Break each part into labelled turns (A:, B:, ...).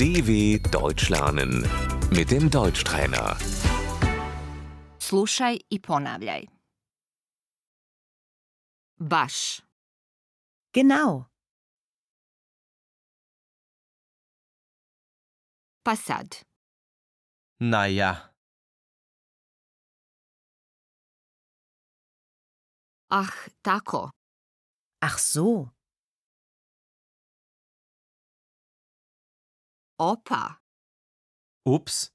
A: DW Deutsch lernen mit dem Deutschtrainer.
B: Slušaj i ponavljaj. Baš,
C: Genau.
B: pa sad.
D: Naja,
B: Ah, tako.
C: Ach so.
B: Opa,
D: ups,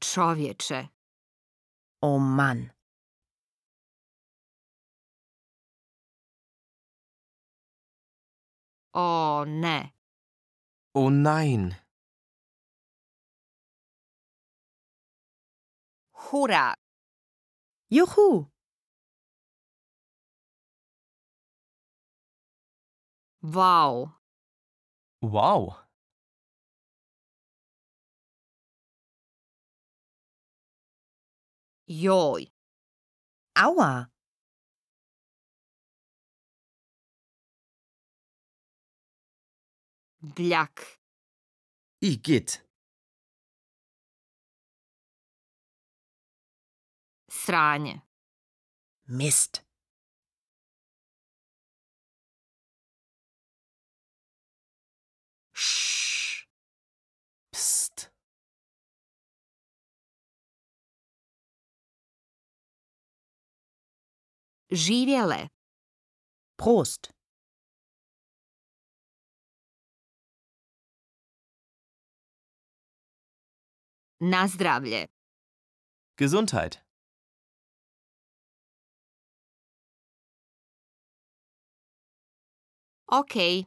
B: čovječe.
C: Oh Mann.
B: O ne,
D: oh nein,
B: hura,
C: Juhu.
B: vau,
D: wow,
B: joj,
C: Aua.
B: bljak,
D: igitt,
B: sranje,
C: Mist.
B: šš,
D: pst,
B: živjele,
C: Prost.
B: nazdravlje,
D: Gesundheit,
B: okej.
C: Okay.